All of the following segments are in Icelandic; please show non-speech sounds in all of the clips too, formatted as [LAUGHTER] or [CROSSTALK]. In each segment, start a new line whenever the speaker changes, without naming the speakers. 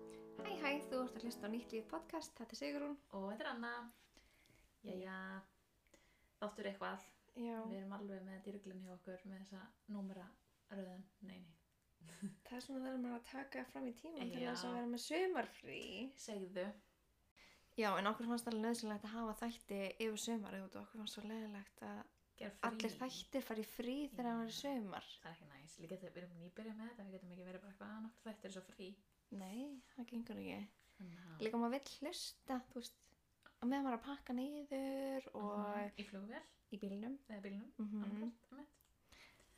hæ, þú ert að hlusta á nýtt líf podcast, þetta er Sigrún.
Og þetta er Anna. Jæja, þáttur eitthvað.
Já,
Við erum alveg með dýrglun hjá okkur með þessa númera röðun. Nei, nei.
það er svona það að maður að taka fram í tíman til
Já.
þess að vera með sömarfrí.
Segðu.
Já, en okkur fannst alveg nöðsynlegt að hafa þætti yfir sömarið út og okkur fannst svo leðilegt að
Ger frí.
allir þættir fari í frí þegar það var sömar.
Það er ekki næs. Líka þegar við erum nýbyrjað með þetta, við getum ekki verið bara eitthvað að nokkur þættir er svo frí.
Nei, það gengur ekki.
Þannig að-
Líka maður vill hlusta, þú veist, á meðan maður er að pakka niður og
Mhm. Í flugvél,
í bílnum.
eða bílnum.
Mhm.
Mm -hmm.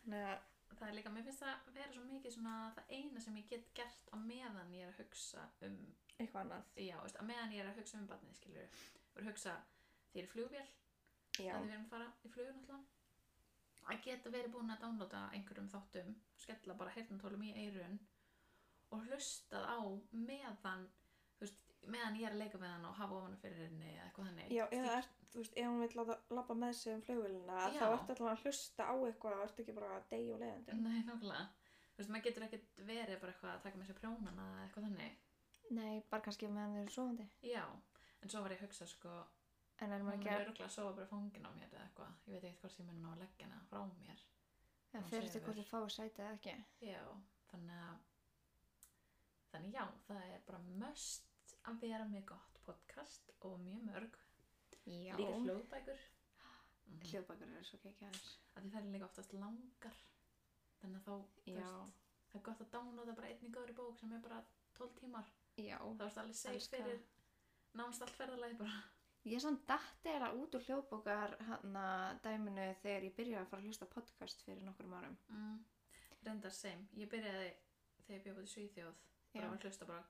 Þannig að,
Það er líka, mér finnst það vera svo mikið svona það eina sem ég get gert á meðan ég er að hugsa um,
eitthvað annað.
já, veist, á meðan ég er að hugsa um barnið, skilur við, að hugsa því er flugvél,
Já,
að við erum að fara í flugur náttúrulega að geta verið búin að downloada einhverjum þáttum skella bara heyrnatólum í eirun og hlustað á meðan þú veist, meðan ég er að leika með hann og hafa ofan fyrir henni eða eitthvað þannig
Já, eða ert, þú veist, ef hún vil láta lappa með sig um flugvélina,
Já.
þá ertu alltaf að hlusta á eitthvað og ertu ekki bara að deyja og leiðandi.
Nei, nákvæmlega Þú veist, maður getur ekkert verið bara eitthvað að taka með sér prjónana eða eitthvað þannig
Nei, bara kannski meðan þau eru svoandi.
Já, en svo var ég að hugsa sko
En er
hún
maður
er
ekki að,
örgulega að sofa bara fóngin á mér eða eitthvað ég veit ekkert hvort ég mun ná að leggja hana frá mér
ja,
hún
fyrir þetta
sefur.
hvort þau fáið sæti eða ekki?
Já, þannig að þannig já, það er bara möst að vera með gott podcast og mjög mörg,
Já.
líka hljóðbækur mm.
Hljóðbækur eru svo geggjaðar.
að því það er líka oftast langar þannig að þá, þú
Já.
veist, það er gott að downloada bara einni góðri bók sem er bara 12 tímar,
Já.
þá erst alveg safe
Elska.
fyrir nánast allt ferðalagi bara
Ég samt datti eða út úr hljóðbókar hana dæminu þegar ég byrjaði að fara að hlusta á podcast fyrir nokkrum árum.
mm. reyndar sem, ég byrjaði þegar ég bjóði Svíþjóð
Já.
bara að hlusta bara,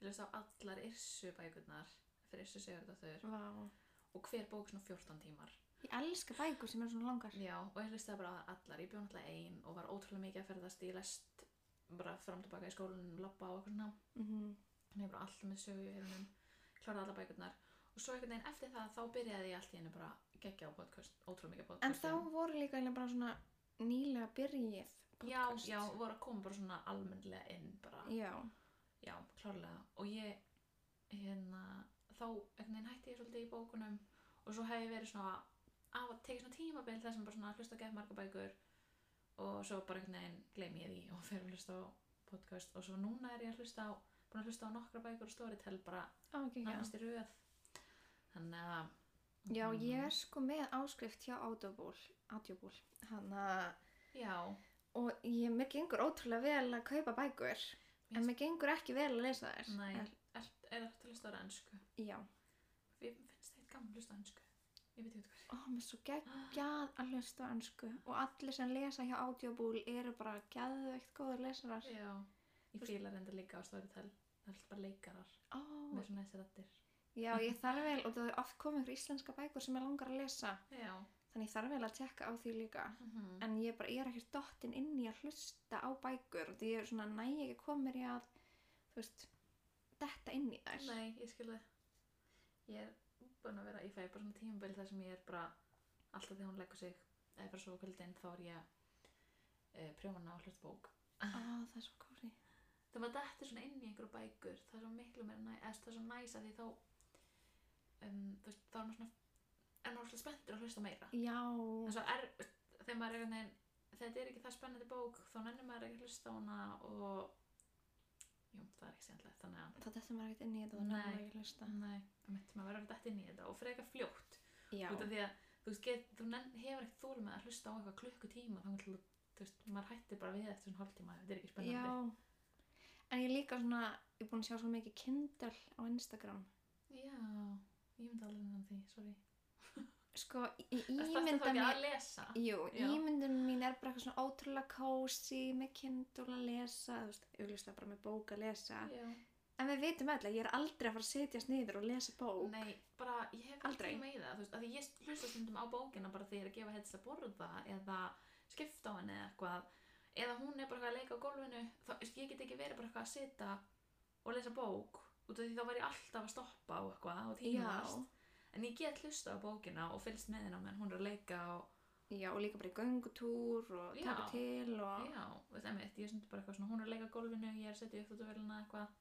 ég hlusta á allar Yrsu bækurnar fyrir Yrsu Sigurdóttur
Vá.
og hver bók svona 14 tímar
Ég elska bækur sem eru svona langar.
Já, og ég hlustaði bara á allar, ég bjóð náttúrulega ein og var ótrúlega mikið að ferðast, ég lest bara fram og tilbaka í skólanum, labba og eitthvað svona
Mm
þannig ég bara alltaf með sögu í hérunum kláraði allar bækurnar og svo einhvern veginn eftir það þá byrjaði ég allt í henni bara geggja á podcast, ótrúlega mikið podcast
En þá voru líka eiginlega bara svona nýlega byrjið podcast.
Já, já, og voru að koma bara svona almennlega inn bara,
Já.
já, klárlega og ég, hérna þá einhvern veginn hætti ég svolítið í bókunum og svo hef ég verið svona af að tekið svona tímabil þar sem bara svona hlusta að gefa marga bækur og svo bara einhvern veginn gleymi ég því og fer að hlusta á podcast og svo núna er ég að hlusta á búin að hlusta á nokkra bækur og storytel bara
Á, ekki, já.
nánast í röð þannig að
Já,
Mhm.
ég er sko með áskrift hjá Audible, Audible. Hanna,
já,
og ég, mér gengur ótrúlega vel að kaupa bækur, en mér gengur ekki vel að lesa þær.
nei,
En-
er, er, er þetta að hlusta á ennsku?
já,
Við finnst þetta gaman að hlusta á ennsku ég veit ekki hvað
og mér er svo geggjað að lesa á ennsku og allir sem lesa hjá Audible eru bara geðveikt góður lesarar.
Já, ég fíla reynda líka á Storytel Það er alltaf bara leikarar
Ó,
með svona þessi rættir
já, ég þarf vel, og það er oft komið ykkur íslenska bækur sem ég langar að lesa,
Já,
þannig ég þarf vel að tekka á því líka.
mm -hmm.
En ég bara, ég er ekkert dottin inn í að hlusta á bækur, því ég er svona næg ekki komið mér í að, þú veist, detta inn í þær.
nei, ég skil það Ég er búin að vera, ég fæ bara svona tímabil þar sem ég er bara alltaf þegar hún leggur sig eða bara svo á kvöldin þá er ég uh, prjóna á hlusta bók
Á, Ah, það er svo kóri.
þegar maður dættir svona inn í einhverju bækur það er svo miklu meira næ, eða það er svo næsa því þá um, þú veist, þá er maður svona er maður svona spenntur að hlusta meira
Já,
en svo er, þegar maður er einhvern veginn þetta er ekki það spennandi bók þá nennir maður ekki að hlusta á hana og jú, það er ekki sérlega þannig að
það dettur maður ekkert inn í þetta, þannig að
Nei.
maður ekki að hlusta.
nei, mitt, maður verður að dætt inn í þetta og frekar fljótt
Já,
út af því að þú veist, get, þú nenn, hefur ekkert þólum með að hlusta á eitthvað klukkutíma þannig að þú veist, maður hættir bara við eftir svona hálftíma þetta er ekki spennandi
já. En ég er líka svona, ég er búin að sjá svo mikið Kindle á Instagram.
Já, ég myndi alveg nefna því, sorry.
Sko, ég
Það er það
ímynda
ekki
mér...
að lesa.
Jú,
Já.
ímyndun mín er bara eitthvað svona ótrúlega kósi með Kindle að lesa, þú veist, augljóslega bara með bók að lesa.
Já.
En við vitum alltaf, ég er aldrei að fara að setjast niður og lesa bók.
Nei, bara ég hef ekki
Aldrei.
tíma í það, þú veist, að því ég hlusta stundum á bókina bara þegar ég er að gefa henni til að borða eða skipta á henni eða eitthvað, eða hún er bara eitthvað að leika á gólfinu, þá, þú veist, ég get ekki verið bara eitthvað að sita og lesa bók, út af því þá var ég alltaf að stoppa á eitthvað og tímast. En ég get hlusta á bókina og fylgst með henni á meðan hún er að leika og,
Já, og líka bara í göngutúr og
Já.
taka til og...
já, þú veist, emitt, ég er stundum bara eitthvað svona, hún er að leika á gólfinu, ég er að setja upp þóttuvélina eitthvað,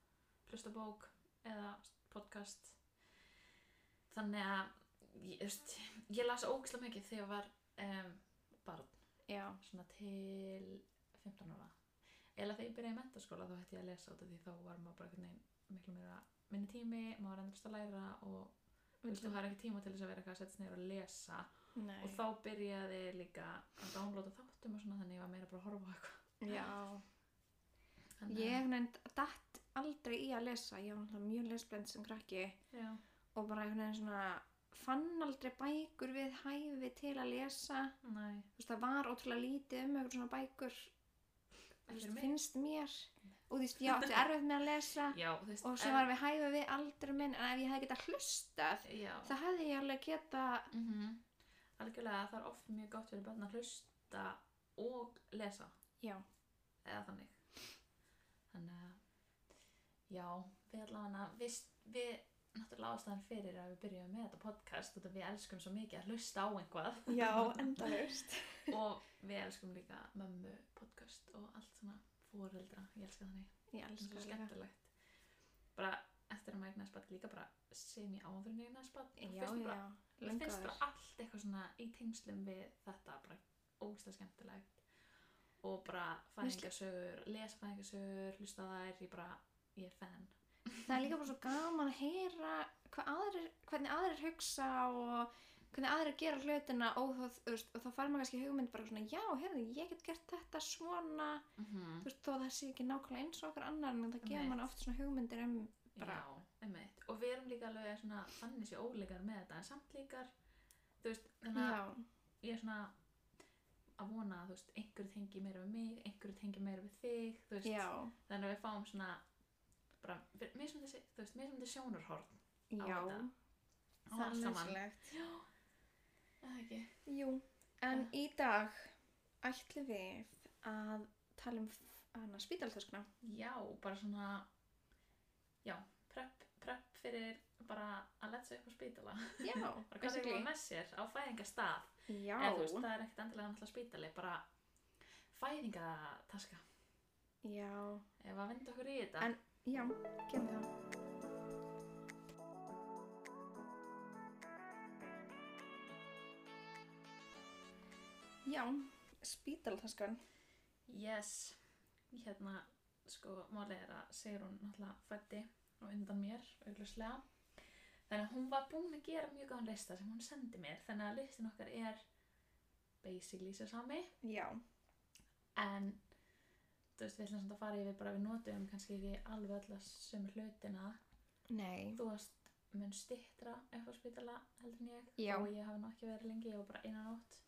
hlusta á bók, eða podcast þannig að ég, þú veist, ég las ógislega mikið þegar ég var um, barn
já,
svona til 15 ára eða þegar ég byrjaði í mentaskóla þá hætti ég að lesa út af því þá var maður bara einhvern veginn miklu meira minni tími, maður var endast að læra og þú veist, þú har ekki tíma til þess að vera eitthvað að setja sér niður og lesa
nei,
og þá byrjaði ég líka að downloada þáttum og svona þannig ég var meira bara að horfa á eitthvað
já.
Þannig að-
Ég nefnd datt aldrei í að lesa, ég var náttúrulega mjög lesblend sem krakki
já,
og bara einhvern veginn svona fann aldrei bækur við hæfi til að lesa
næ,
þú veist það var ótrúlega lítið um eitthvað svona bækur þú
ekki
veist,
fyrir mig Mm.
finnst mér og þú veist ég átti erfitt með að
[LAUGHS]
lesa
já, þú veist,
og svo var við hæfi við aldur minn en ef ég hefði getað hlustað
já,
þá hefði ég alveg geta
mm algjörlega það er oft mjög gott fyrir börn að hlusta og lesa
já,
eða þannig þannig að já, við allavega við, við náttúrulega ástæðan fyrir að við byrjum með þetta podcast út að við elskum svo mikið að hlusta á einhvað
endalaust
[LAUGHS] og við elskum líka mömmu podcast og allt svona fóreldra, ég elska þannig
ég
það er
elska
svo
líka
skemmtilegt bara eftir að maður eignast barn líka bara sem ég áður en ég eignast barn þá
já,
finnst mér bara,
já,
mér
löngu
finnst
áður
bara allt eitthvað svona í tengslum við þetta bara ógislega skemmtilegt og bara
Veist-
fæðingasögur lesa fæðingasögur, hlusta á þær ég bara, ég er fan
það er líka bara svo gaman að heyra hvað aðrir, hvernig aðrir hugsa og hvernig aðrir gera hlutina og, það, veist, og þá fær maður kannski hugmynd bara svona já, heyrðu, ég get gert þetta svona
mm -hmm.
þú veist, þó að það sé ekki nákvæmlega eins og okkar annar en það gefur
Einmitt.
mann oft svona hugmyndir um Bara-
Já, einmitt og við erum líka alveg svona þannig sé óleikar með þetta en samt líkar þú veist, þannig að
já,
ég er svona að vona að þú veist, einhverju tengi meira við mig einhverju tengi meira við þig þú veist,
já,
þannig að við fáum svona bara, mér sem þessi, þú veist, mér sem þessi sjónarhorn
já
þetta. á
það er
allt saman.
nöðsilegt
Já,
Ah,
eða ekki
jú, en
Ah.
í dag ætlum við að tala um f- hana spítaltöskuna
Já, bara svona já, prep, prep fyrir bara að leta sig upp á
já,
spítala bara [LAUGHS] hvað þau
basically.
var með sér á fæðingastað
já,
eða þú veist, það er ekkert endilega náttúrulega spítali bara fæðingataska
já,
ef að vinda okkur í þetta
En- já, gerum það já, spítaltöskan
yes, hérna sko, málið er að Sigrun náttúrulega fætti og undan mér, augljóslega þannig að hún var búin að gera mjög góðan lista sem hún sendi mér þannig að listin okkar er basically sér sami
já,
en þú veist, við ætlum svona að fara yfir bara við notum kannski ekki alveg alla sömu hlutina
nei
þú varst mun stittra upp á spítala heldur en ég
Já.
og ég hafi nú ekki verið lengi, ég var bara eina nótt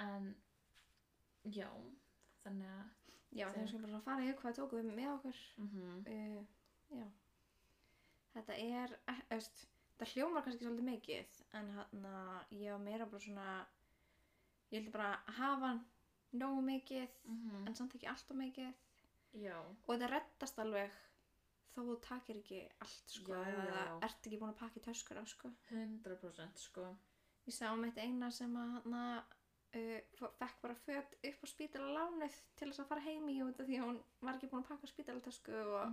en já, þannig að
já,
Sem-
þegar við skulum bara fara í hvað tókum við með okkur
mm -hmm.
uh, já þetta er eh, veist, þetta hljómar kannski svolítið mikið en hann að ég var meira bara svona ég vildi bara hafa nógu mikið en samt ekki allt og mikið
Mhm. já,
og þetta reddast alveg þó þú takir ekki allt sko
Já,
eða
já, já.
ert ekki búin að pakka í töskuna sko
100% sko
ég sá um eitt eina sem að hann að uh, fó- fekk bara fött upp á spítala lánuð til þess að fara heim í út af því að hún var ekki búin að pakka spítala tösku og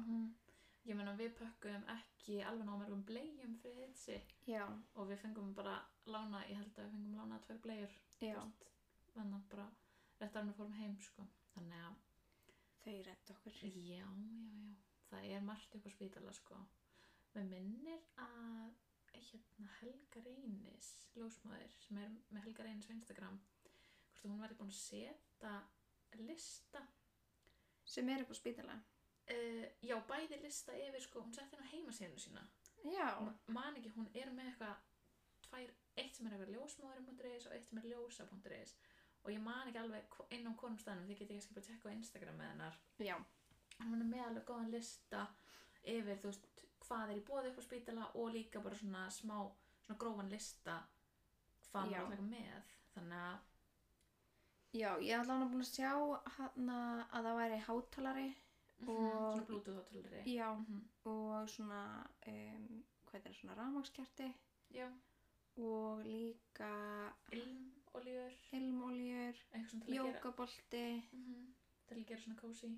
ég meina við pökkum ekki alveg ná mörgum blegjum fyrir hitsi
já,
og við fengum bara lána, ég held að við fengum lána tvær blegjur
já,
þannig að bara rétt árum við fórum heim sko þannig að
þau redd okkur
Já, já, já. Það er margt upp á spítala, sko. Mér minnir að hérna, Helga Reynis, ljósmaður, sem er með Helga Reynis á Instagram, hvort að hún væri búin að setja lista,
sem er upp á spítala
uh, já, bæði lista yfir, sko, hún setti henni á heimasíðinu sína.
já,
Ma- Man ekki, hún er með eitthvað, tvær, eitt sem er eitthvað ljósmaður.is og eitt sem er ljósa.is og ég man ekki alveg hvo- inn á hvorum staðnum, þið getið kannski bara að tekka á Instagram með hennar.
já,
hann var með alveg góðan lista yfir þú veist hvað er í bóði upp á spítala og líka bara svona smá svona grófan lista
Já.
hvað maður allega með þannig að
já, ég er allavega búin að sjá hana að það væri hátalari
mhm,
Og-
svona bluetooth átölulegri
já,
Mhm,
og svona um, hvað er það, svona rafmakskerti
já,
og líka
ilmolíur
ilmóljur,
eitthvað svona til að gera
jókabolti
mhm, til að gera svona cozy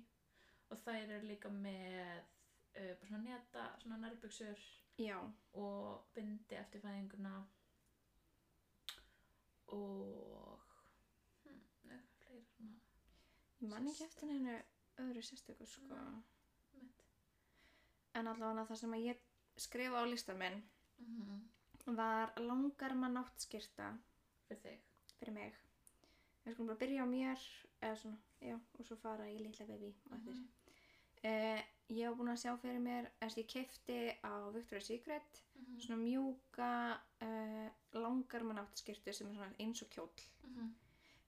og þær eru líka með uh, bara svona neta, svona nærbuksur
já,
og bindi eftir fæðinguna og hmm, eitthvað fleira svona
ég man ekki eftir neinu öðru sérstöku sko
mitt
en allavega það sem að ég skrifa á listan minn
mm -hmm.
var langarma náttskirta
fyrir þig
fyrir mig við skulum bara byrja á mér eða svona, já, og svo fara í litla baby og eftir
Mhm.
Eh, ég hef búin að sjá fyrir mér eins og ég kefti á Victoria's Secret
Mhm.
svona mjúka uh, langarma náttskirtu sem er svona eins og kjóll
Mhm.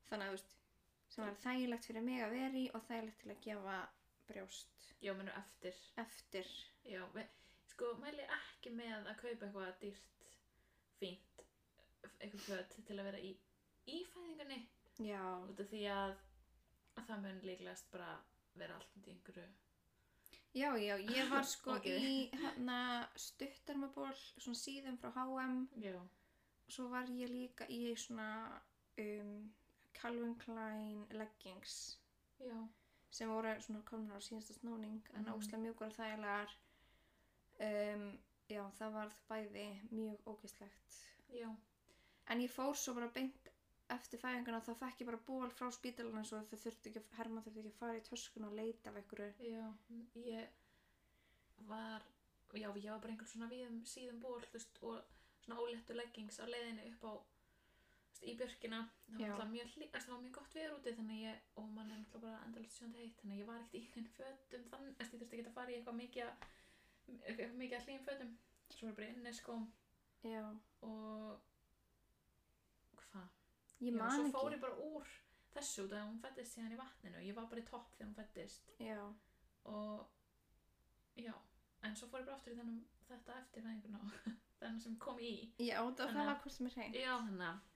þannig að þú veist sem var þægilegt fyrir mig að vera í og þægilegt til að gefa brjóst
já, mennum eftir
eftir
já, við, sko, mæli ekki með að kaupa eitthvað dýrt fínt eitthvað föt til að vera í í fæðingunni
já,
út af því að, að það mun líklegast bara vera allt í einhverju
já, já, ég
[LAUGHS]
var sko
Ok.
í hana stuttarmaból svona síðan frá H&M
já,
svo var ég líka í svona um, Calvin Klein leggings
já,
sem voru svona komnar á síðasta snúning en
Mhm.
óslega mjúkur og þægilegar um, já, það varð bæði mjög ógeðslegt
já
en ég fór svo bara beint eftir fæðinguna þá fekk ég bara ból frá spítalana svo þau þurftu ekki, að- Hermann þurfti ekki að fara í töskun og leita af einhverju
Já, ég var, já, ég var bara einhvern svona víðum, síðum ból, þú veist, og svona óléttu leggings á leiðinni upp á, þú veist, í björkina. Það var
Já.
alltaf mjög hlý, þú veist, það var mjög gott veður úti, þannig að ég, og mann er alltaf bara endalist sjöndi heitt, þannig að ég var ekkert í henni fötum, þannig, þú veist, ég þurfti ekki að fara í eitthvað mikið, að- eitthvað mikið að hlýjum fötum, svo var ég bara inni skóm
já,
og, hvað?
ég
Já,
man
svo fór
ekki
ég bara úr þessu, þegar hún fættist síðan í vatninu, ég var bara í topp þegar hún fættist
já,
og já, en svo fór ég bara aftur í þennan þetta eftir fæðinguna [LAUGHS] þennan sem kom í
já, það,
Þannig
það
að-
var hvort sem er hreint
já, þannig
hérna.
að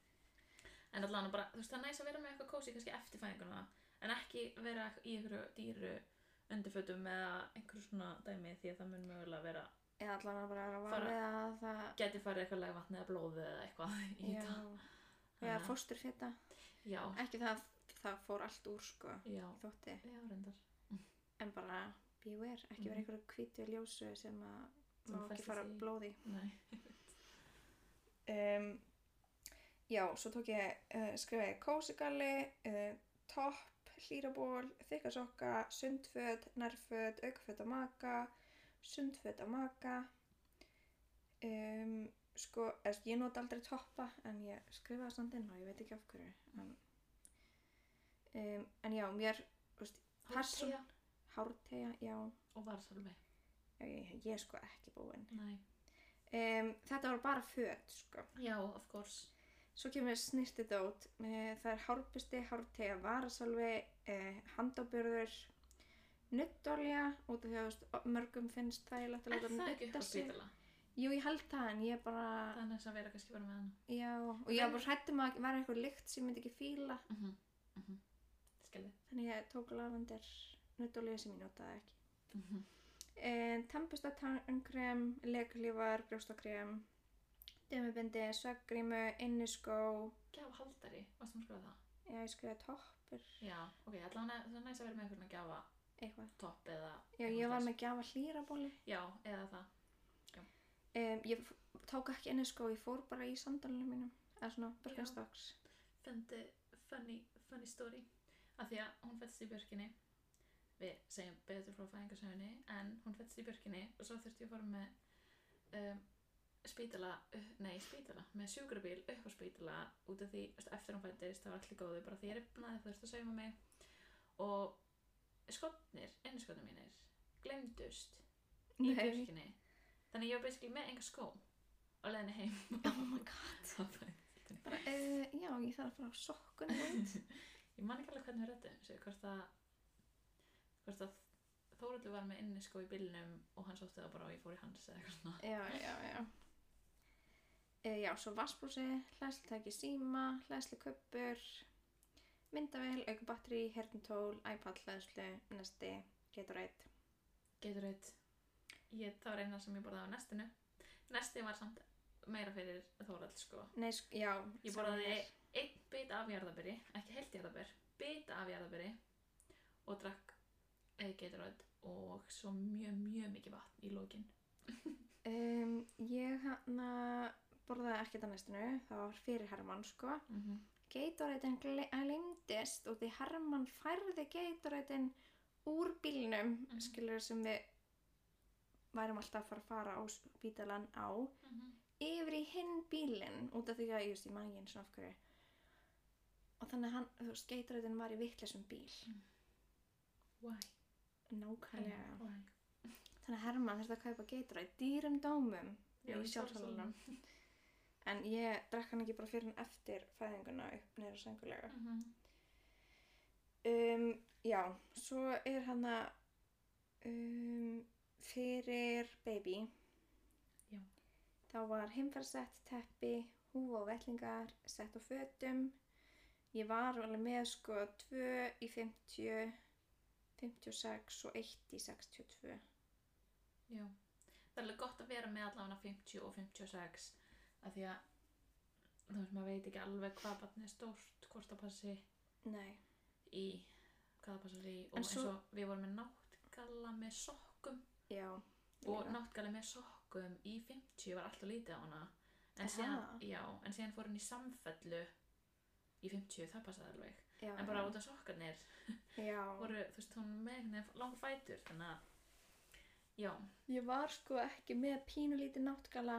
en allan bara, þú veist, það er næs að vera með eitthvað kósi kannski eftir fæðinguna, en ekki vera í einhverju dýru undirfötum eða einhverju svona dæmi því að það mun mögulega vera,
eða allan að bara var
Fara-
við að það
geti farið eitthvað legvatni eða blóðu eða eitthvað í
já,
þetta
eða
Þannig að-
fósturfita
já,
ekki það það fór allt úr sko
já,
þótti,
já, reyndar
en bara beware, ekki vera
Mhm.
einhverju hvítu og ljósu sem að
Sem
má ekki
festist
fara
í.
blóði
nei,
um, já, svo tók ég uh, skrifaði kósigalli uh, topp, hlýraból þykka sokka, sundföt, nærföt aukaföt á maka sundföt á maka um, sko er, ég nota aldrei toppa en ég skrifaði samt inn og ég veit ekki af hverju en, um, en já, mér Persón-
Hárteyja
hártegja, já
og varsalmi,
ég, ég er sko ekki búinn
nei
um, þetta voru bara föt sko.
já, of course,
svo kemur snirtidót uh, það er hárbusti, hártega varasalvi uh, handábjörður nuttolja út af því að þú veist, mörgum finnst það ég
er
láta
það ekki upp á
nutta sig
spítala
jú ég held það en ég bara
það er næst að vera kannski bara með hana
já, og ég var bara hrættum að vera eitthvað lykt sem ég myndi ekki fíla
Mhm, mhm. Skilði.
þannig ég tók lavendur nuttolja sem ég notaði ekki
Mhm.
En Tempesta tangrem, leglífar, brjóstakrem, dömubindi, sveggrímu, inniskó,
Gjafa haldari, varstu maður að skrifa það?
já ég skrifaði toppur,
Já, ok, allan að það er næst að vera með einhvern að gjafa
eitthvað.
topp eða
Já, ég var með gjafa hlýrabóli.
Já, eða það
Um, ég f- tók ekki inniskó, ég fór bara í sandalunum mínum, eða svona Birkenstocks.
Fendi, funny, funny story Af því að hún fættist í björkinni Við segjum betur frá fæðingarsögunni En hún fættist í björkinni Og svo þurfti ég að fara með um, Spítala, uh, nei spítala Með sjúkrabíl upp á spítala Út af því, þú veist, eftir hún fættist Það var allir góðu, bara því ég rifnaði þurfti að sauma mig Og skotnir Einskotnir mínir, glemdust Í
Nei,
björkinni Þannig að ég var basically með enga skó Á leiðinni heim
[LAUGHS] oh my god.
[LAUGHS] Það var-
Bara, uh, já, ég þarf að fara á sokkunni [LAUGHS] út.
Ég man ekki alveg hvernig við rættum þessu, hvort að, hvort að Þóruldur var með inni sko í bílnum og hann sótti það bara og ég fór í hans eða eitthvað svona.
já, já, já. Uh, já, svo vassbrúsi, hlæslutæki síma, hlæsluköppur, myndavél, aukubatteri, hernitól, iPad hlæðslu, nesti, Gatorade.
Getur eitt, ég, það var eina sem ég borðaði á nestinu. Nesti var samt meira fyrir Þóruld sko.
Nei, sk- já.
Ég
sama
borðaði
hér.
einn bit af jarðaberi, ekki heilt jarðaber, bit af jarðaberi og drakk geitarödd og svo mjög, mjög mikið vatn í lókin.
Um, ég hann borðaði ekkert á næstinu, það var fyrir Hermann sko.
Mm -hmm.
Gatorætin glemdist eh, og því Hermann færði gatorætin úr bílnum,
Mhm.
skilur sem við værum alltaf að fara að fara á spítalan á,
Mm -hmm.
yfir í hinn bílinn út af því að, ég veist, ég man ekki eins og af hverju. Og þannig að hann, þú veist, gatorætin var í vitleysum bíl.
Why?
Nákvæmlega.
Why?
Þannig að Hermann þurfti að kaupa geitur í dýrum dómum
Já,
í
í
sjálfsalunum. En ég drakk hann ekki bara fyrir hann eftir fæðinguna upp neyra sengulega.
Mm -hmm.
Um, já, svo er hann að um, fyrir baby.
Já.
Þá var heimferðsett, teppi, húfa og vellingar, sett á fötum. Ég var alveg með sko 2 í 50, 56 og 1 í 62.
Já, það er alveg gott að vera með allavega 50 og 56 af því að þú veist, maður veit ekki alveg hvað barnið er stórt, hvort það passi
Nei.
í hvað það passar í og
En
eins
svo-
og við vorum með náttgalla með sokkum
Já.
og
líka.
náttgalla með sokkum í 50 var alltaf lítið á hana
Aha.
en síðan, já, en síðan fór hann í samfellu í 50, það passaði alveg
já,
en bara út af sokkarnir
já.
voru, þú veist, hún með einhvern veginn langar fætur þannig að, já,
Ég var sko ekki með pínulítið náttgala,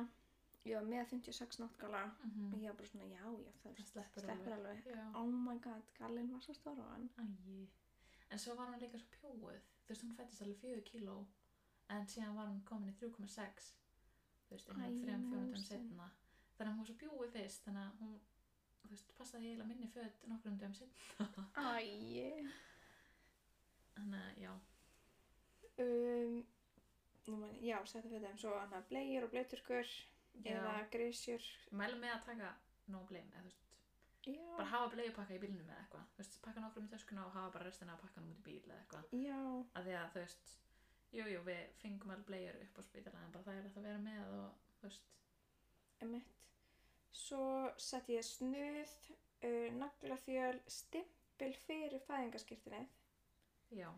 ég var með 56 náttgala
mm
og ég var bara svona já, já, það
það sleppur,
sleppur alveg.
Já.
Oh my god, gallin var svo stór á hann.
Æi. En svo var hún líka svo pjóuð. Þú veist, hún fættist alveg 4 kíló en síðan var hún komin í 3,6 þú veist, innan
Æi,
3-4 dæm
músin.
setna. Þannig að hún var svo pjóuð fyrst þannig að hún, þú veist, passaði eiginlega minni föt nokkrum dæm setna.
Æi.
Þannig að, já.
Um, nú man- já, setja fyrir þeim svo hann að blegjur og blöyturkur eða grísjur.
Mælum með að taka no blame, eða þú veist,
Já,
bara hafa bleiupakka í bílnum eða eitthvað. Þú veist, pakka nokkrum í töskuna og hafa bara restina að pakka út í bíl eða eitthvað.
já,
Af því að, þú veist, jú, jú, við fengum alveg blegjur upp á spítala en bara það er hægt að vera með og, þú veist,
emitt. Svo sett ég snuð, uh, naglafjöl, stimpil fyrir fæðingaskirtinni.
Já,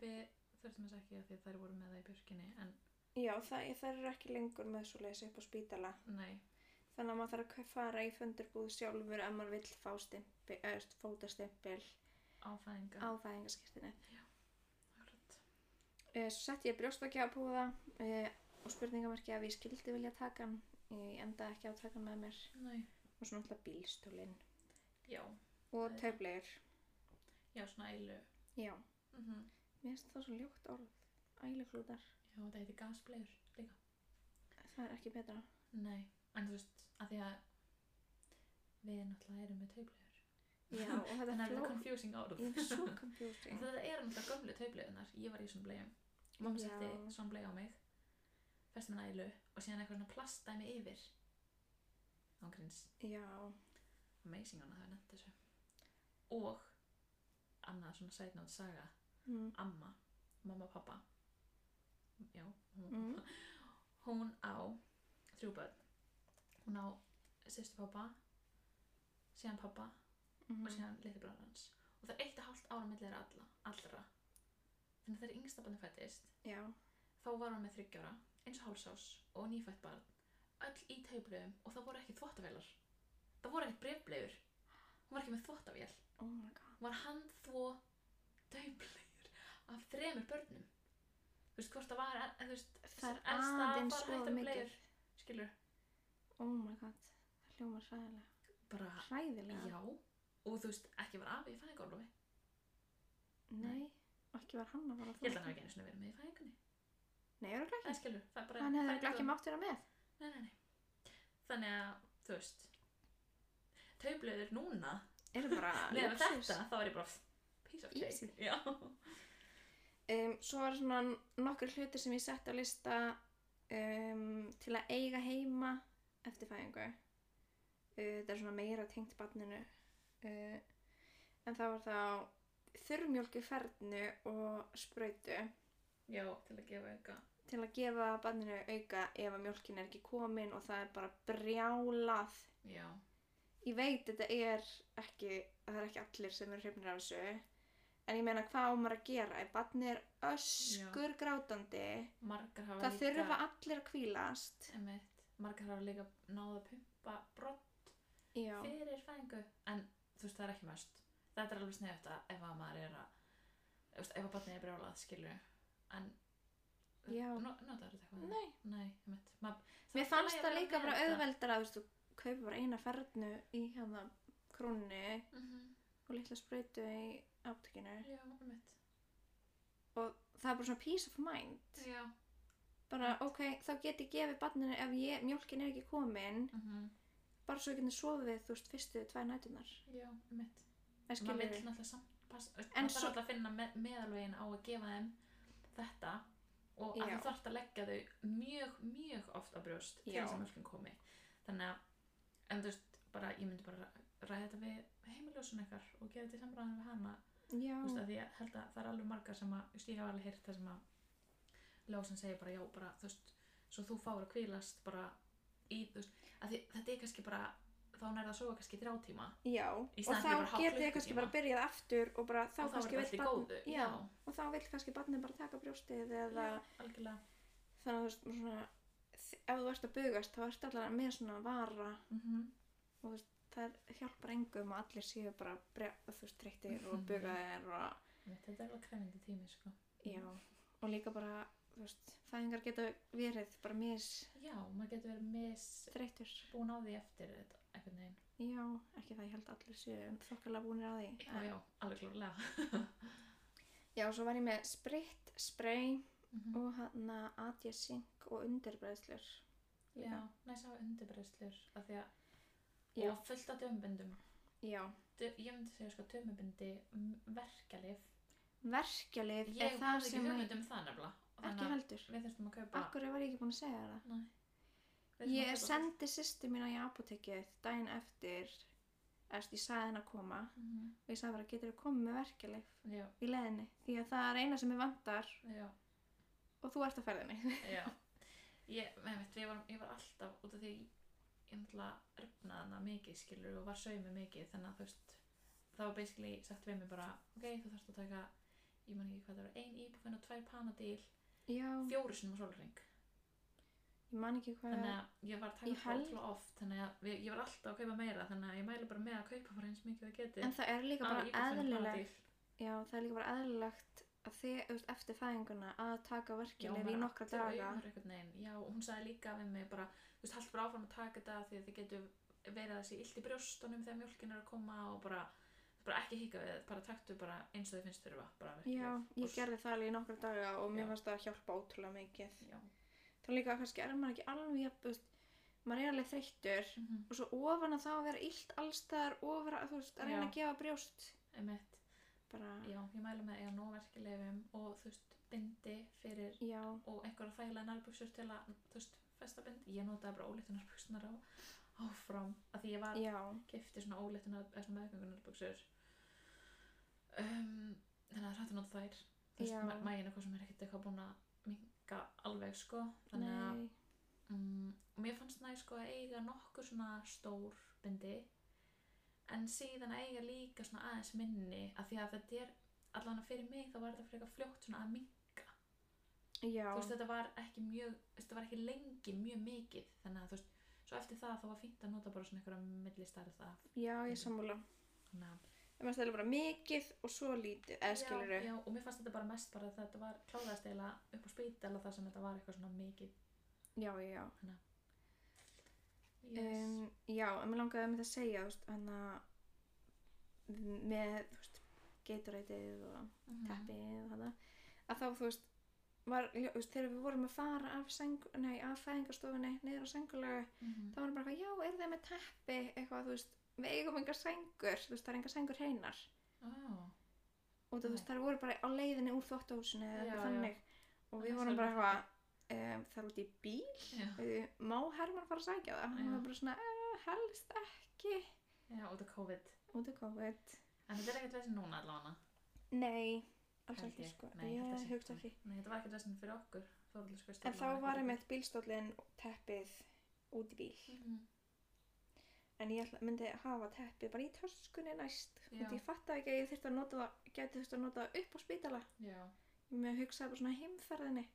við þurftum þess ekki að því að þær voru með það í björkinni en
Já, það, það er ekki lengur með svo leysi upp á spítala.
nei,
Þannig að maður þarf að kau- fara í fundurbúð sjálfur ef maður vill fá stimpil, öðst, fótastimpil
áfæðinga
á fæðingaskirtinu.
Akkurat.
Eh, Svo sett ég brjóstvakja að búða eh, og spurningamarki að ég skildi vilja taka hann. Ég enda ekki á að taka hann með mér.
Nei,
Og svona alltaf bílstólinn.
já,
Og
Það er-
töflegur.
já, svona ælu
Já.
mm
Mér finnst það svo ljótt orð. Æluklútar.
Já, það heiti gasblegur líka
Það er ekki betra.
Nei, en þú veist, að því að við náttúrulega erum með taublegur
Já, [LAUGHS] og þetta
Þannig
er
að það er
flók.
confusing orð
Ég er
[LAUGHS]
svo
En
confusing.
Þetta eru náttúrulega gömlu taublegunar, ég var í svona blegum Mamma
Já.
setti svona bleg á mig festi minn ælu og síðan eitthvað svona plastdæmi yfir Ángríns
Já.
amazing hann að hafa nefnt þessu og annað svona side note saga
Mm.
amma, mamma og pappa já, hún,
Mm.
hún á þrjú börn hún á sýstu pappa síðan pappa og
Mm.
síðan litli bróður hans og það er eitt og hálft ára millir alla, allra þannig að þegar yngsta barni fættist
Já.
þá var hún með þryggjara, eins og hálsás og nýfætt barn, öll í taublegum og það voru ekki þvottavélar það voru ekki brefblegur hún var ekki með þvottavél
Oh my god.
var hann þvó taublegur af þremur börnum þú veist hvort það var en, þú veist,
Það er
elsta var
aðeins
bara
of
hætt að
mikið.
bleiur, skilur
Oh my god. Það hljómar hræðilega.
bara,
Hræðilega?
Ah, já og þú veist, ekki var afi í fæðingarlofi
Nei, ekki var hann að fara að
ég held að hann hafi ekki einu sinni verið með í fæðingunni
Nei, er ekki.
en skilur, það er bara
Hann hefði ekki
fæðingu-
mátt vera með.
nei, nei, nei. þannig að, þú veist taublegur núna
Er bara
með
lúxus.
þetta, þá er ég bara piece of
Easy.
cake já,
Um, svo var svona nokkur hlutir sem ég sett á lista um, til að eiga heima eftir fæðingu. Uh, það er svona meira tengt barninu. Uh, en það var þá þurrmjólk í fernu og sprautu
já til að gefa auka
til að gefa barninu auka ef að mjólkin er ekki komin og það er bara brjálað
já,
ég veit þetta er ekki það er ekki allir sem eru hrifnir af þessu en ég meina hvað á maður að gera ef barnið er öskur grátandi
margar hafa
það þurfa allir að hvílast
einmitt, margar hafa líka náða að pumpa brott
já,
fyrir fæðingu en þú veist það er ekki mest þetta er alveg sniðut að ef að maður er að þú veist, ef að barnið er brjálað skilju en
Já.
Nó- notar þetta eitthvað
Nei.
nei einmitt. Ma,
mér fannst það líka bara
auðveld
auðveldara þú veist, þú kaupir bara eina fernu í hérna krónni og litla sprautu í aftökinu
já, einmitt
og það er bara svona peace of mind
já, Mm.
bara ok, þá get ég gefið barninu ef ég, mjólkin er ekki komin
mhm,
bara svo ég geti sofið, þú veist, fyrstu tvær nætunar
já, einmitt
en
maður
skilur
vil náttúrulega samt pass, en
En
maður þarf
svo-
alltaf að finna me meðalvegin á að gefa þeim þetta og að
Já.
þú þarft að leggja þau mjög, mjög oft á brjóst til
Já.
þess að mjölkin komi þannig að, en þú veist, bara ég myndi bara ræða þetta við heimiljósun ykkar og gera þetta í samræðan við hana
já,
þú veist, að því ég held að það er alveg margar sem að, þú veist, ég hef alveg heyrt það sem að ljósan segir bara, já, bara, þú veist svo þú fáir að kvílast bara í, þú veist, að því, þetta er kannski bara þá nærða að sofa kannski í þrjá tíma
já og
Í staðinn fyrir bara
þá
hálf
get ég kannski
klukkutíma.
bara byrjað aftur og bara þá
Og þá er
kannski vill
bara allt í
barn-
góðu,
já,
já.
og þá vill kannski barnið bara taka brjóstið eða
algjörlega
þannig að þú veist, svona ef þú ert að bugast þá ert allavega með svona vara
mm
Mhm. það hjálpar engum að allir séu bara bre, þú veist, treyttir
Mhm.
og bugaðir og,
Einmitt, Þetta er alveg krefindi tími, sko.
já, og líka bara þú veist, fæðingar geta verið bara mis
Já, maður getur verið mis
þreytur
búin á því eftir þetta, einhvern veginn.
já, ekki það ég held að allir séu þokkalega búinir á því
Já, já, alveg klárlega.
[LAUGHS] já, svo var ég með spritt, spray
Mhm.
og hann adjacink og undirbreðslur
Já, næst að hafa undirbreðslur, af því að,
Já.
og fullt af dömbindum.
já,
Ég myndi segja, sko, dömbindi, verkalif.
verkjalið
Ég
er það
hafði ekki
sem að-
hugmynd um það nefnilega. og
ekki
þannig að
heldur
Við þurftum að kaupa.
akkur var ég ekki búin að segja það
Nei. Við þurftum að
Ég
kaupa
sendi sýstir mína í apotekið daginn eftir eftir ég sagði henni að koma
fullt. Mhm.
og ég sagði bara getur þú komið með verkelif
Já,
í leðinni því að það er eina sem ég vantar
já.
og þú ert að
[LAUGHS]
ferðinni
Já, ég, einmitt, ég, var, ég var alltaf út af því ég náttúrulega röfnaði hana mikið skilur og var saumi mikið þannig að þú veist það var basically sagt við mig bara ok, þú þarfst að taka, ég man ekki hvað það var ein íbúfinn og tvær panadíl
Já,
fjóru sinum á sólring
ég man ekki hvað
þannig að ég var að
Í
taka það
held-
alltaf oft þannig að við, ég var alltaf að kaupa meira þannig að ég mæli bara með að kaupa bara eins mikið og geti
en það er líka bara eðlilegt já, það er líka bara eðlilegt að þið út eftir fæðinguna að taka verkelif í nokkra daga
Já, og hún sagði líka við mig bara, þú veist, haldt bara áfram að taka þetta því að þið getur verið þessi illt í brjóstunum þegar mjölkin er að koma og bara, bara ekki hika við, þetta, bara taktu bara eins og þið finnst þurfa, bara
Já,
Og
ég
s-
gerði það alveg í nokkra daga og mér
Já.
fannst það að hjálpa ótrúlega mikið
Já,
þá líka kannski er maður ekki alveg jafn, þú veist, maður er alveg þreyttur
Mhm.
og svo ofan að það að vera illt allstaðar og vera, þú veist, að reyna
Já.
að gefa brjóst
einmitt,
bara,
já, ég mælu með að eiga nóverkilegum og þú veist, bindi fyrir
já,
og einhverja þægilega nærbuksur til að, þú veist, festa bindi, ég notaði bara ólítu nærbuksunar á, áfram, að því ég var
já, já,
kefti svona óléttunar eða svona meðgöngunarbuksur um, þannig að hrættu nota þær
Já.
þú veist, ma- maginn eitthvað sem er ekkert eitthvað búin að minga alveg sko þannig að
nei,
um, mér fannst næ sko að eiga nokkur svona stór bindi en síðan að eiga líka svona aðeins minni af því að þetta er allan fyrir mig þá var þetta frekar fljótt svona að minga
já,
þú veist þetta var ekki mjög þetta var ekki lengi mjög mikið þannig að þú veist svo eftir það þá var fínt að nota bara svona einhverja millistarð af
já, ég sammála
þannig að
ég fannst það er bara mikið og svo lítið, eða skilur
já, já, og mér fannst þetta bara mest bara að þetta var kláðast eila upp á spítala þar sem þetta var eitthvað svona mikið
já, já, já,
yes.
um, já, en mér langaði með það að segja, þú veist, hann að með, þú veist, geiturætið og
Mhm.
teppið og þetta að þá, þú veist, var, ljó- þú veist, þegar við vorum að fara af, seng, nei, af fæðingarstofunni niður á sengulegu
Mhm.
þá var hann bara eitthvað, já, er það með teppi eitthvað, þú veist, við eigum engar sengur þú veist, það er engar sengur heinar
Ó,
og þú veist, þær voru bara á leiðinni úr þvóttahúsinu eða
Já,
eitthvað
já.
þannig og
Það
við
er
vorum bara
svolítið.
eitthvað um, það er út í bíl,
já.
við, má Herman fara að sækja það
Já.
hann var bara svona, "Eh, helst ekki
já, út af COVID
út af COVID
en þetta er ekkert veginn núna allavega
nei, alls
Held
ekki
ég.
sko
Nei, ég held að
ég
sé-
hugsa
nei.
ekki
Nei, þetta var ekkert veginn fyrir okkur Þórhildur sko, skrifstofa
en þá var ég með bílstólinn teppið út í bíl
Mhm.
en ég ætla, myndi hafa teppið bara í töskunni næst
Já.
og því fattaði ekki að ég þyrfti að nota það gæti þurfti að nota það upp á spítala
Já. mhm.
með að hugsa bara svona
[LAUGHS]
heimferðinni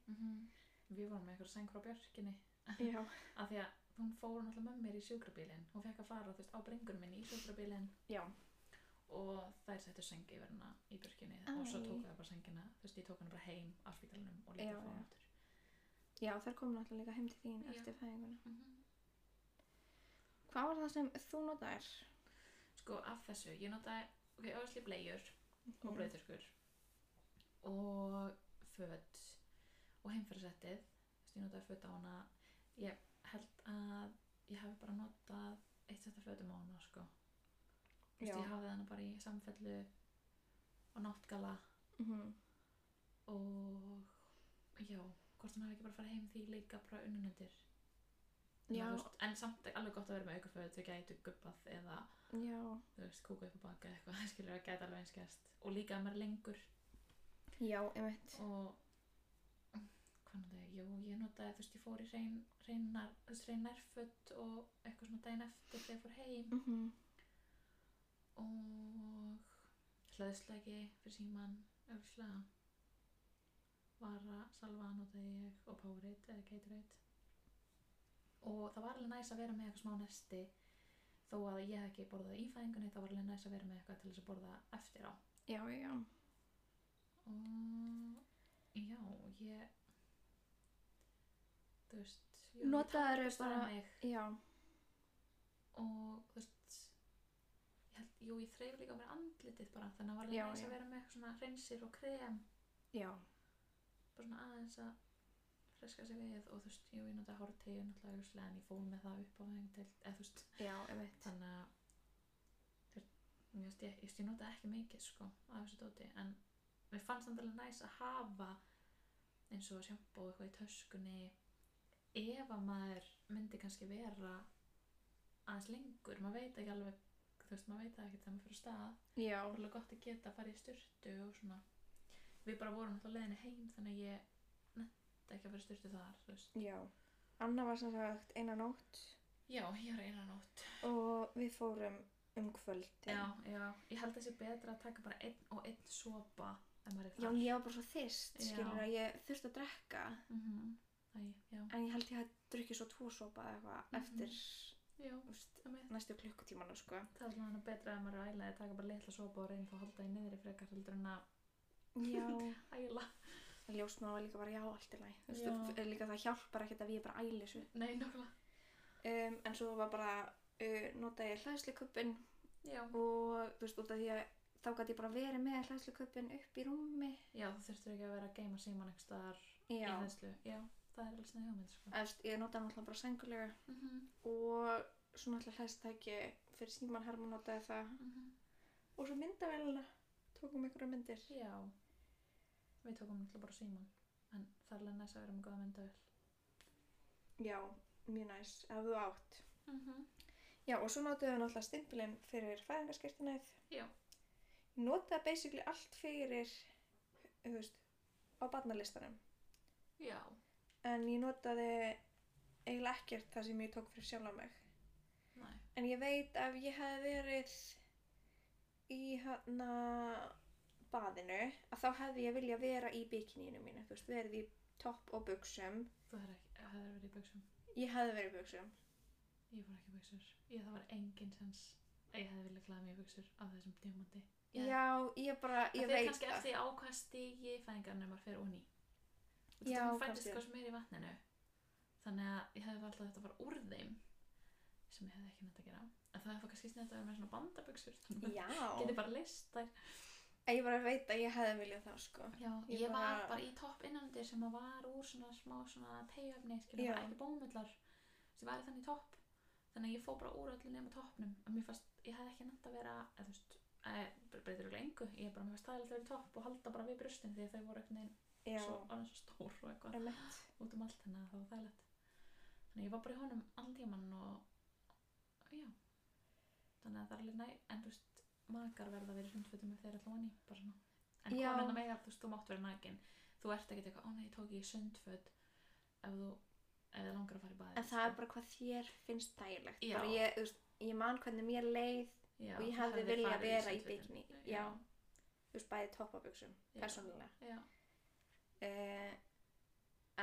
Við vorum með eitthvað seng frá Björkinni.
já,
Af því að hún fór náttúrulega með mér í sjúkrabílinn. Hún fekk að fara, þú veist, á brengunum minni í sjúkrabílinn
já,
og þær settu sengi yfir hana í Björkinni og svo
Æ.
tók það bara sengina, þú veist, ég tók hana bara heim á spítalunum
Já,
og líka fór
já.
hann aftur.
já þær komum náttúrulega líka heim til þín
Já.
eftir fæðinguna
Mm
hvað var það sem þú notaðir?
Sko, af þessu, ég notaði, ok, öðsli blegjur og brauðtöskur og föt og heimferðsettið þess að ég notaði föt á hana ég held að ég hef bara notað eitt setta fötum á hana sko. Þú veist,
Já.
ég hafði hana bara í samfellu og náttgala
Mhm.
og já, hvort hún hafi ekki bara farið heim því líka bara unnunendir
Já.
en samt er alveg gott að vera með aukaföðu þau gætu gubbað eða
já,
þú veist, kúka upp á baka eða eitthvað [LAUGHS] skilur að gæta alveg einskjast og líka að maður er lengur
já, einmitt
og hvað náttúrulega, jú, ég notaði þú veist, ég fór í reyn, reynar, þú veist, reyn nærföld og eitthvað svona daginn eftir þegar ég fór heim
mhm,
og hlaðisleiki fyrir síman öfislega vara, salva notaði ég og Powerade eða Gatorade og það var alveg næs að vera með eitthvað smá nesti þó að ég hef ekki borðað í fæðingunni þá var alveg næs að vera með eitthvað til þess að borða eftir á
já, já,
Mm, já, ég þú veist ég
Notaðirðu
taldist að
bara-
mig
já
og þú veist ég held, jú, ég þreif líka á mér andlitið bara þannig að var
Já,
alveg næs
já.
að vera með eitthvað svona hreinsir og krem
já,
bara svona aðeins að freska sig við og þú veist, jú, ég notaði hártegju náttúrulega augljóslega, en ég fór með það upp á vegindelt eða þú veist,
já, einmitt
þannig að þú veist, ég, veist, ég, ég, ég notaði ekki mikið sko, af þessu dóti en mér fannst það alveg næs að hafa eins og sjampó eitthvað í töskunni ef að maður myndi kannski vera aðeins lengur maður veit ekki alveg þú veist, maður veit það ekki þegar maður fyrir stað
já,
það var alveg gott að geta að fara í styrtu og svona við bara vorum alltaf leiðinni heim þannig að ég nefndi ekki að fara í styrtu þar þú veist.
já Anna var sem sagt eina nótt
já, ég var einan nótt
og við fórum um kvöldin
já, já, ég held þessi betra að taka bara einn og einn sopa ef maður er
Já,
þar
en ég var bara svo þyrst,
Já.
skilur að ég þurfti að drekka
Mhm. Æ, já,
en ég held ég að drukki svo tvo sopa eða eitthvað
Mhm.
eftir
já,
þú veist,
emmi
næstu klukkutímanu, sko.
Það er svona betra að maður er að æla að taka bara litla sopa og reyna þá að halda í niðri frekar heldur en að
Já.
æla.
Ljósmaður var líka bara já, allt í lagi. Þú
Já.
veist, það- líka það hjálpar ekkert að ég bara æli þessu.
Nei, nokkulega.
Um, en svo var bara, uh, notaði ég hlæðslikuppin
Já.
og, þú veist, út af því að þá gæti ég bara verið með hlæðslikuppin upp í rúmi.
Já, þú þurftur ekki að vera að geima síman ekki staðar í
Já.
hlæðslu. Já, það er alveg snið hugmynd, sko.
Þú veist, ég notaði náttúrulega bara sengulega
Mm -hmm.
og svo náttúrulega hlæðstæki fyrir síman herma notaði það
mhm.
og svo myndavélina tókum ykkur að myndir.
Já. Við tókum alltaf bara síman. En það er alveg næst að vera með góða myndavel.
Já, mjög næs, ef þú átt.
Mm
Mhm.
-hmm.
Já, og svo notuðu við náttúrulega stimpilinn fyrir fæðingarskirtinæð.
Já.
Notaðu basically allt fyrir, þú veist, á barnalistanum.
Já.
En ég notaði eiginlega ekkert það sem ég tók fyrir sjálf á mig.
Næ.
En ég veit ef ég hefði verið í hana baðinu, að þá hefði ég vilja vera í bikinínu mínu, þú veist, verið í topp og buksum.
Þú hefur ekki, hefur verið í buksum.
Ég hefði verið í buksum.
Ég fór ekki í buksur. Ég það var engin sens. Ég hefði viljað klæða mig í buksur á þessum tímandi. Ég hefði
Já, ég bara, ég
það fyrir
veit
kannski eftir á hvað stigi fæðingarnir maður fyrir onni
Já,
hún fættist
kannski.
hvað sem er í vatninu þannig að ég hefði alltaf þetta að fara úr þeim sem ég hefði ekki nætt að gera en það hefði kannski snett að vera með svona bandabuxur þannig [LAUGHS]
Já.
að geti bara list þær
En ég bara veit að ég hefði viljað það sko.
Já,
Ég
ég, var
bara-
bara í topp innanundir sem að var úr svona smá svona tegjöfni,
Já.
skilja, bara ekki bómullar sem var í þannig topp þannig að ég fór bara úr öllu nema toppnum að mér fannst, ég hefði ekki nætt að vera eða þú veist, eða breytir ekki engu ég bara, mér fannst það að vera í topp og halda bara við brustin því að þau voru eitthvað
Já,
svo, alveg svo stór og eitthvað
emitt.
út um allt þannig að það var þægilegt þannig að ég var bara í honum allan tíman og og já þannig að það er alveg næ en þú veist, makar verða að vera í sundfötum ef þeir eru allan í bara svona en
Já.
konan að meira, þú veist, þú mátt vera nakin þú ert ekkert eitthvað, ó nei, ég tók ég sundföt ef þú, ef þið langar að fara í baði
En það er bara hvað þér finnst þægilegt.
sko- Já.
Bara ég, þú veist, ég man hvernig mér leið
Já,
og ég
þú
hefði
hafðir
viljað
farið í
vera í
sundfötin.
bikini já,
Já,
þú veist bæði toppabjöksum
Já.
persónulega
já,
uh,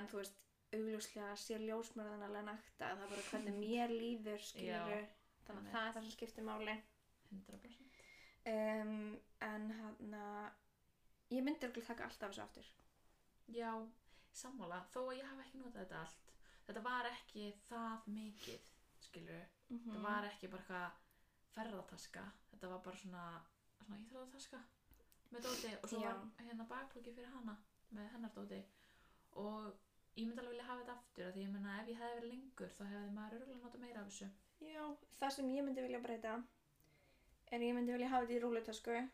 en þú veist augljóslega sér ljósmörðan alveg nækta það er bara hvernig mér líður skilur þannig að
einmitt.
það er það sem skiptir máli
100%
um, en hann ég myndi okkur taka allt af þessu aftur
Já, sammála, þó að ég hafi ekki notað þetta allt Þetta var ekki það mikið, skilur
mm
Þetta var ekki bara eitthvað ferðataska Þetta var bara svona, svona íþróðataska með dóti og svo
Já.
var hérna bakpóki fyrir hana með hennar dóti og ég myndi alveg vilja hafa þetta aftur af því ég meina ef ég hefði verið lengur þá hefði maður örgulega notað meira af þessu
já, það sem ég myndi vilja breyta er ég myndi vilja hafa þetta í rúlutösku
Já,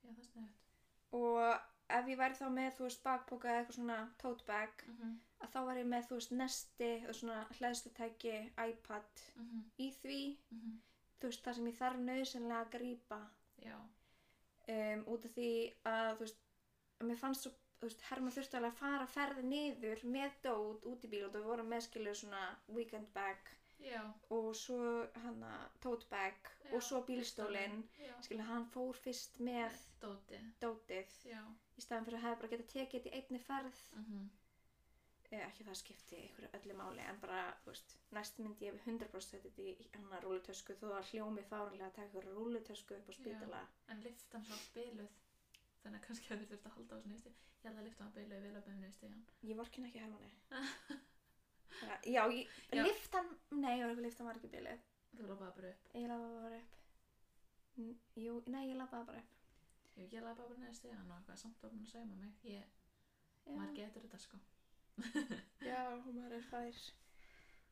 það er sniðut
og ef ég væri þá með þú veist bakpoka eða eitthvað svona tote bag
mm -hmm.
að þá var ég með þú veist nesti og svona hlæðslutæki, iPad
mm -hmm.
í því, mhm. þú veist það sem ég þarf nöðsynlega að grípa
Já,
um, út af því að þú veist að mér fannst svo, þú veist, Herma þurfti alveg að fara ferði niður með dót út í bíl og við vorum með skilu svona weekend bag
já,
og svo hana tote bag
Já,
og svo bílstólinn
já
skilu hann fór fyrst með
Dóti,
dótið
já
í staðan fyrir að hefði bara getað tekið þetta í einni ferð
mm
eh, ekki að það skipti ykkur öllu máli en bara, þú veist, næst myndi ég 100% setja þetta í hennar rúlutösku þó að hljómi fárunlega að taka ykkur rúlutösku upp á spítala
En liftan svo biluð Þannig að kannski hefur þurft að halda á þessu nefnstu Ég held að liftan var biluð vel að beinu nefnstu
ég vorkin ekki
[LAUGHS]
hermanni Bara- já, ég,
Já.
liftan nei, ég var ekki liftan var ekki bilið
Þú lofaði bara upp
ég lafaði bara upp N jú, nei, ég lafaði bara upp
Ég hef ekki alveg bara neðist í hann og eitthvað samt var búin að sæma mig. Ég, maður
já,
getur þetta sko.
já maður er fær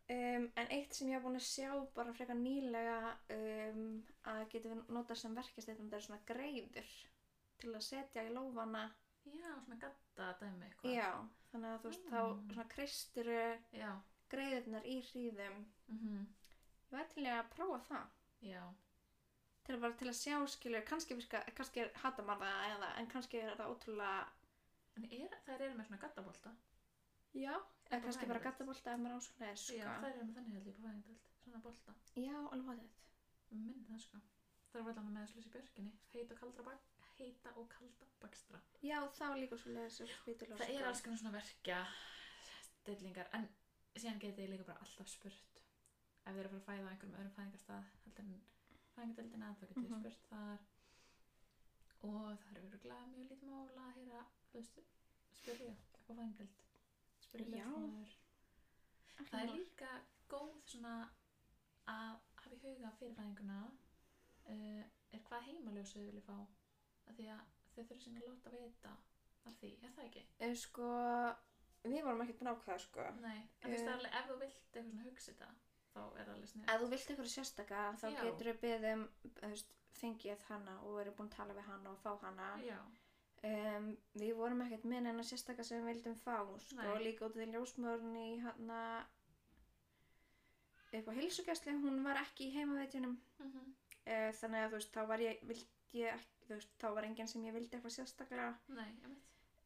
um, en eitt sem ég hef búin að sjá bara frekar nýlega um, að getum við notað sem verkefstættum það er svona greiður til að setja í lófana
Já, svona gatta dæmi eitthvað.
Já, þannig að þú veist,
Mm.
þá svona kreisturu
Já.
greiðurnar í hríðum.
Mm
Ég var til í að prófa það.
Já.
Til að bara til að sjá, skilur, kannski virka, kannski er hata maður það eða, en kannski er það ótrúlega,
En er, þær eru með svona gattabolta.
já, eða
bara
kannski bara
hægilegt.
gattabolta ef maður ásvöldið, sko.
Já, þær eru með þannig held ég på fæðingdöld. Svona bolta.
Já, alveg þetta.
Mér Minni það sko. Þær eru allan með slúsi björkinni. Heita og kaldra bak, heita og kalda bakstra.
Já, það var líka svo leiðis og spítulega,
Það er alls konar svona verkja, stillingar, en síðan geti ég líka bara alltaf spurt. Ef þið eru að fara að fæða á einhverjum öðrum fæðingarstað, heldur en fæðingardeldina, þá getið þið
Mhm.
spurt þar. Og það eru glæð mjög lítið mála að heyra, þú veist, spyrja upp á fæðingardeld. Spyrja
Já.
ljósmóður. Það er líka góð svona að hafa í huga fyrir fæðinguna uh, er hvað heimaljós þau vilja fá. Af því að þau þurfa síðan að láta vita af því, er það ekki?
En sko, við vorum ekkert búin að ákveða, sko.
Nei, en þú veist
Eh,
það er alveg, ef þú vilt eitthvað svona hugsa þetta, þá er það alveg snið.
Ef þú vilt eitthvað sérstaka, þá
Já.
getur við beðum, þú veist, fengið hana og erum búin að tala við hana og fá hana.
Já,
Um, við vorum ekkert með neina sérstakar sem við vildum fá sko,
Nei.
líka út af því ljósmörn í hann upp á hilsugjastli, hún var ekki í heimaveitjunum
mm
uh, þannig að þú veist, þá var ég, vildi ég ekki, þú veist, þá var enginn sem ég vildi eitthvað sérstaklega
nei, ég veit.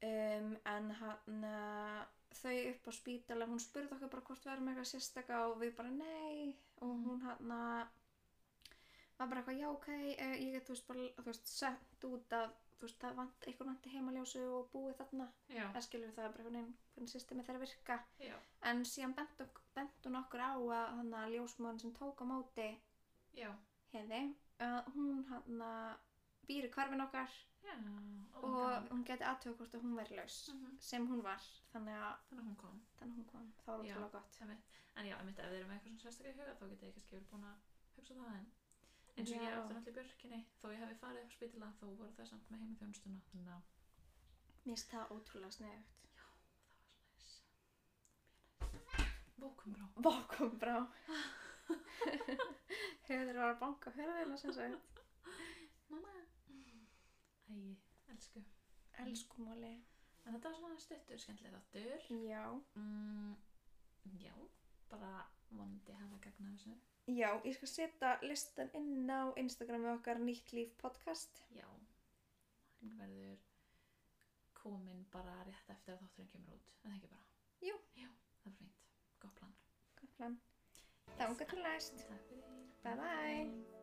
um, en hann eh, þau upp á spítala, hún spurði okkur bara hvort við erum eitthvað sérstaka og við bara nei og
Mhm.
hún hann eh, var bara eitthvað já ok eh, ég get þú veist bara, þú veist, sett út að þú veist, það vant, eitthvað vanti heimaljósu og búið þarna
Já,
það skilur það er bara hvernig, hvernig systemi þeirra virka
já,
en síðan bent, ok- bent hún okkur á að hann að ljósmóðan sem tók á móti
já,
heiði að hún hann býr í hverfin okkar
já, ó,
og
gaman.
hún geti aðtöku hvort að hún væri laus
Mhm.
sem hún var þannig að
þannig að hún kom,
þannig að hún kom, þá var
Já.
ótrúlega gott
ég veit. En já, ég veit, ef þið eru með eitthvað svona sérstaklega í huga, þá getið þið kannski verið búin að hugsa það en eins og
Já.
ég átti náttúrulega í björkinni, þó ég hafi farið upp á spítila, þó voru það samt með heimaþjónustuna, þannig að
mér finnst það ótrúlega sniðugt
það var svona þess. Vókum brá.
Vákum [LAUGHS] brá Hefur var að banka hörðina sem sagt
Mamma. Æi, elsku.
Elsku móli
En þetta var svona stuttur, skemmtileg þáttur.
Já
Mm, já, bara vonandi hafa gagn af þessu.
Já, ég skal setja listan inn á Instagrami okkar Nýtt Líf Podcast
Já, hann verður komin bara rétt eftir að þátturinn kemur út. En það ekki bara.
Jú.
Já, það er fínt. Góð plan.
Gott plan.
Þanga til næst.
Takk fyrir.
Bye bye.